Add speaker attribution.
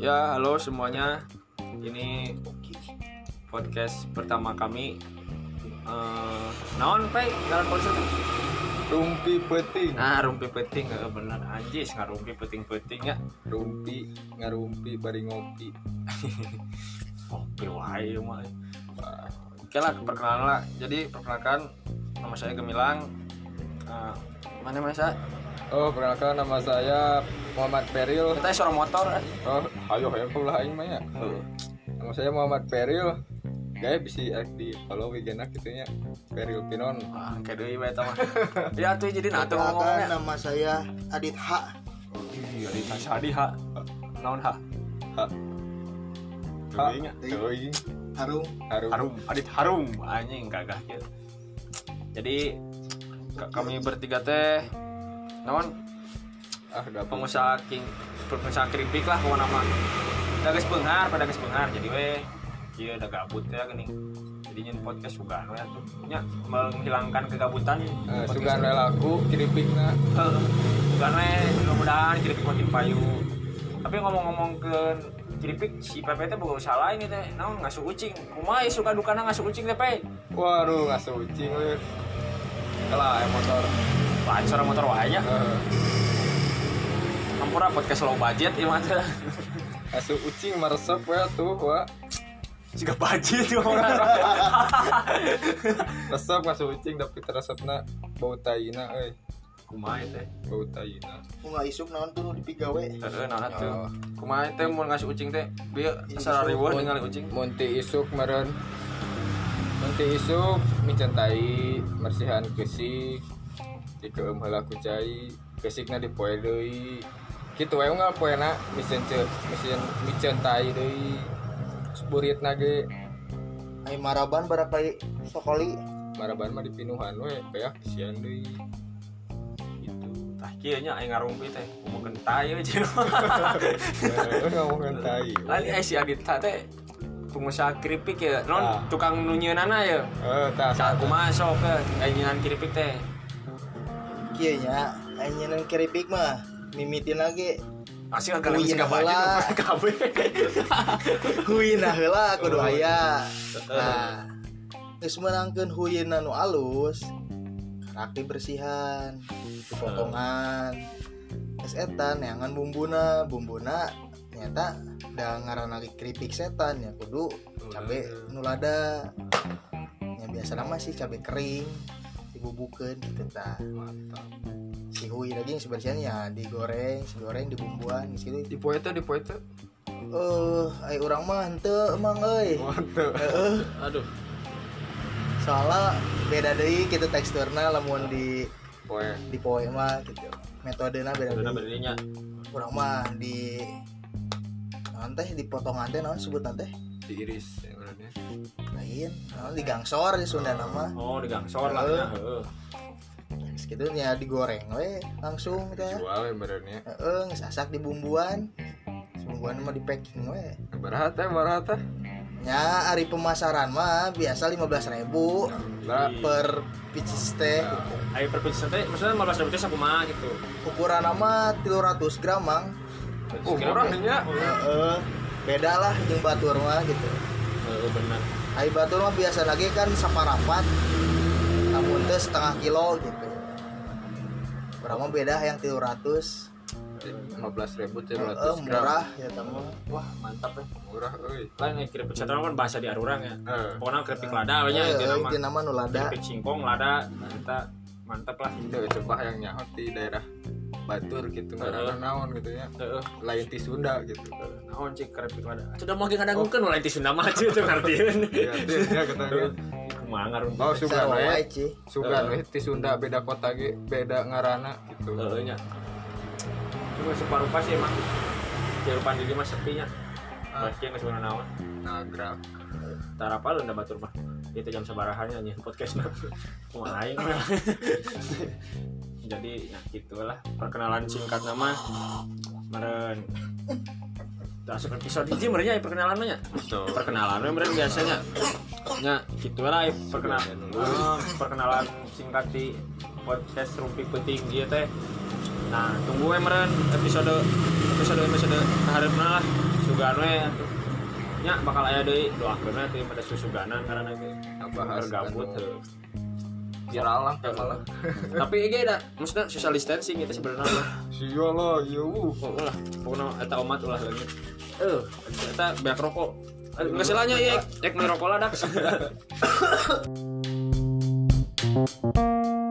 Speaker 1: Ya, halo semuanya. Ini podcast pertama kami. Eh, naon, Pak? Kalian konsep?
Speaker 2: Rumpi peting,
Speaker 1: Nah, rumpi peting eh, bener anjis, nggak rumpi peting-peting ya.
Speaker 2: rumpi ngarumpi bari ngopi.
Speaker 1: Oke, wae ya, mah. Eh, Oke lah, perkenalan lah. Jadi, perkenalkan nama saya Gemilang. Eh, mana mana saya?
Speaker 2: Oh, perkenalkan nama saya Muhammad Peril.
Speaker 1: Kita suara motor. eh.
Speaker 2: Oh, hayo hayo pula aing mah ya. Nama saya Muhammad Peril. Gaya bisa di follow wegenak gitu nya. Peril Pinon.
Speaker 1: Ah, kayak deui bae eta mah. Ya atuh jadi nah atuh
Speaker 3: Perkenalkan
Speaker 1: ngomongnya.
Speaker 3: nama saya Adit H.
Speaker 1: Jadi Sadi ha. Naon ha?
Speaker 2: Ha. Ha.
Speaker 1: Deui nya.
Speaker 2: Doi.
Speaker 3: Harum.
Speaker 2: Harum.
Speaker 1: harum adit harum anjing gagah gitu jadi k- kami bertiga teh naon
Speaker 2: Ah, udah apa?
Speaker 1: pengusaha king pengusaha keripik lah pokoknya nama udah geus beunghar pada geus beunghar jadi weh ieu udah gabut ya gini jadi nyen podcast juga anu ya tuh nya menghilangkan kegabutan
Speaker 2: Eh,
Speaker 1: podcast.
Speaker 2: Sugan we laku kiripikna.
Speaker 1: Heuh. bukan weh mudah-mudahan keripik makin payu tapi ngomong-ngomong ke keripik si Pepe teh boga usaha lain itu naon ngasuh kucing kumaha ieu suka dukana ngasuh kucing teh Pe
Speaker 2: Waduh, ngasuh ucing we. Kalah ya motor.
Speaker 1: Lain suara motor wahanya
Speaker 2: Eh,
Speaker 1: Ampura podcast low budget ya mata
Speaker 2: ngasuh ucing meresep we tuh, wa.
Speaker 1: Juga budget ya orang
Speaker 2: Resep ngasuh ucing tapi resepna bau taina euy.
Speaker 1: Kumai teh
Speaker 2: Bau taina.
Speaker 3: Aku nggak isuk naon tuh di pigawe.
Speaker 1: Heeh, nah
Speaker 2: Oh.
Speaker 1: tuh Kumai teh mau ngasih ucing teh Biar secara ribuan ningali ucing
Speaker 2: Munti isuk meren Munti isuk mencintai mersihan gesik di keemhala kucai gesikna dipoe deui kitu wae unggal poena misen ce misen mencintai deui spuritna ge
Speaker 3: Ai maraban barak lai sokoli.
Speaker 2: maraban mah dipinuhan we kayak kesian deui
Speaker 1: Gitu Tah kieu nya aing ngarumpi teh Kumu kentai we jeung.
Speaker 2: Eh, ngomong tai
Speaker 1: Lain eh si Adita teh pengusaha keripik ya
Speaker 2: Ah.
Speaker 1: non tukang nunyeunana ya
Speaker 2: eh tas
Speaker 1: saat kumaha sok ke nyeunaan keripik teh
Speaker 3: Kieu nya, ai nyeunang keripik mah mimitin lagi.
Speaker 1: Masih agak
Speaker 2: Oh,
Speaker 1: lebih
Speaker 3: Kuyin
Speaker 1: gak budget
Speaker 3: heula.
Speaker 1: kabeh.
Speaker 3: Huyina heula kudu
Speaker 2: Oh.
Speaker 3: aya. Nah, geus meunangkeun huyina nu alus. Karak dibersihan, dipotongan. Geus eta neangan bumbuna, bumbuna nyata da ngaranna keripik setan ya kudu cabe nulada yang biasa nama sih cabe kering dibubukeun gitu tah
Speaker 2: mantap
Speaker 3: si hui daging sebersihan ya digoreng digoreng dibumbuan di situ
Speaker 2: dipoe teh dipoe teh
Speaker 3: eh ai urang mah henteu emang euy
Speaker 2: mantap
Speaker 3: heeh
Speaker 1: Aduh
Speaker 3: soalnya beda deui kita teksturna lamun di
Speaker 2: poe
Speaker 3: di poe mah gitu metodena beda
Speaker 1: Aduh
Speaker 3: deui
Speaker 1: bedanya
Speaker 3: urang mah di naon teh dipotongan teh naon sebutan teh
Speaker 2: diiris ya, urangnya.
Speaker 3: lain naon digangsor di Sunda nama
Speaker 1: Oh di gangsor lah
Speaker 3: Heeh.
Speaker 1: ya, heeh.
Speaker 3: segitu nya digoreng we langsung teh
Speaker 2: dijual we meureunnya
Speaker 3: heeh ngesasak di bumbuan bumbuan mah di packing we
Speaker 2: Baraha teh, baraha teh.
Speaker 3: nya hari pemasaran mah biasa 15.000 ribu
Speaker 2: Bara-
Speaker 3: per picis teh gitu.
Speaker 1: Ayo perpindahan teh, maksudnya 15 ribu teh sakumaha gitu.
Speaker 3: ukuran nama 300 gram mang
Speaker 2: Oh, murah nih nya.
Speaker 3: Heeh. Eh, beda lah jeung batur mah gitu
Speaker 1: Heeh, Oh, benar.
Speaker 3: hari batur mah biasa lagi kan saparapat namun teh setengah kilo gitu kurang mah beda yang 300
Speaker 2: 15.000 teh 200
Speaker 3: Heeh,
Speaker 2: gram.
Speaker 3: murah ya tamu
Speaker 1: Wah, mantap eh. ya.
Speaker 2: Murah euy.
Speaker 1: Lain yang keripik setan kan bahasa di Arurang ya.
Speaker 2: Eh,
Speaker 1: Pokoknya keripik lada we nya
Speaker 3: Eh,
Speaker 1: itu nama.
Speaker 3: itu nama nu lada
Speaker 1: Keripik singkong lada, mantap. Mantap lah.
Speaker 2: itu coba yang nyaho di daerah Batur gitu, ngaranna naon gitu ya.
Speaker 1: Heeh.
Speaker 2: Lain ti Sunda gitu.
Speaker 1: Eh, Naon cik keripik lada. Oh, Sudah mau kadang ngungkeun lain ti Sunda mah aja itu ngartieun.
Speaker 2: Ya, teh, ya kata gue.
Speaker 1: Kumaha ngarung.
Speaker 2: Oh, sugan
Speaker 3: Sarua
Speaker 2: we.
Speaker 3: wae, Ci.
Speaker 2: Sugan we ti Sunda beda kota ge, beda ngarana gitu.
Speaker 1: Heeh Eh, nya. Cuma separuh pas sih emang. Jarupan di mah sepinya.
Speaker 2: Ah.
Speaker 1: Bahasa geus sebenarnya naon.
Speaker 2: Nagrak.
Speaker 1: Tara apa lu batur mah itu jam sebarahannya nih podcast mah Mau aing jadi ya gitulah perkenalan singkat nama meren tak seperti episode ya, hiji merenya perkenalannya
Speaker 2: Betul.
Speaker 1: perkenalan meren biasanya ya gitulah perkenalan Eh, perkenalan singkat di podcast rumpi gitu, ya. penting dia teh nah tunggu we meren episode episode episode harapna lah juga susugan we atuh. nya bakal aya deui doakeun we atuh pada susuganan karena nanti
Speaker 2: bahas
Speaker 1: bergabut
Speaker 2: anu.
Speaker 1: heuh.
Speaker 2: viral lah malah
Speaker 1: tapi ge da maksudna social distancing itu sebenarnya mah.
Speaker 2: sialah ya uh
Speaker 1: Oh, ulah pokoknya eta umat ulah leungit eh eta beak rokok Eh, Nggak salahnya ya, ek merokok lah dak.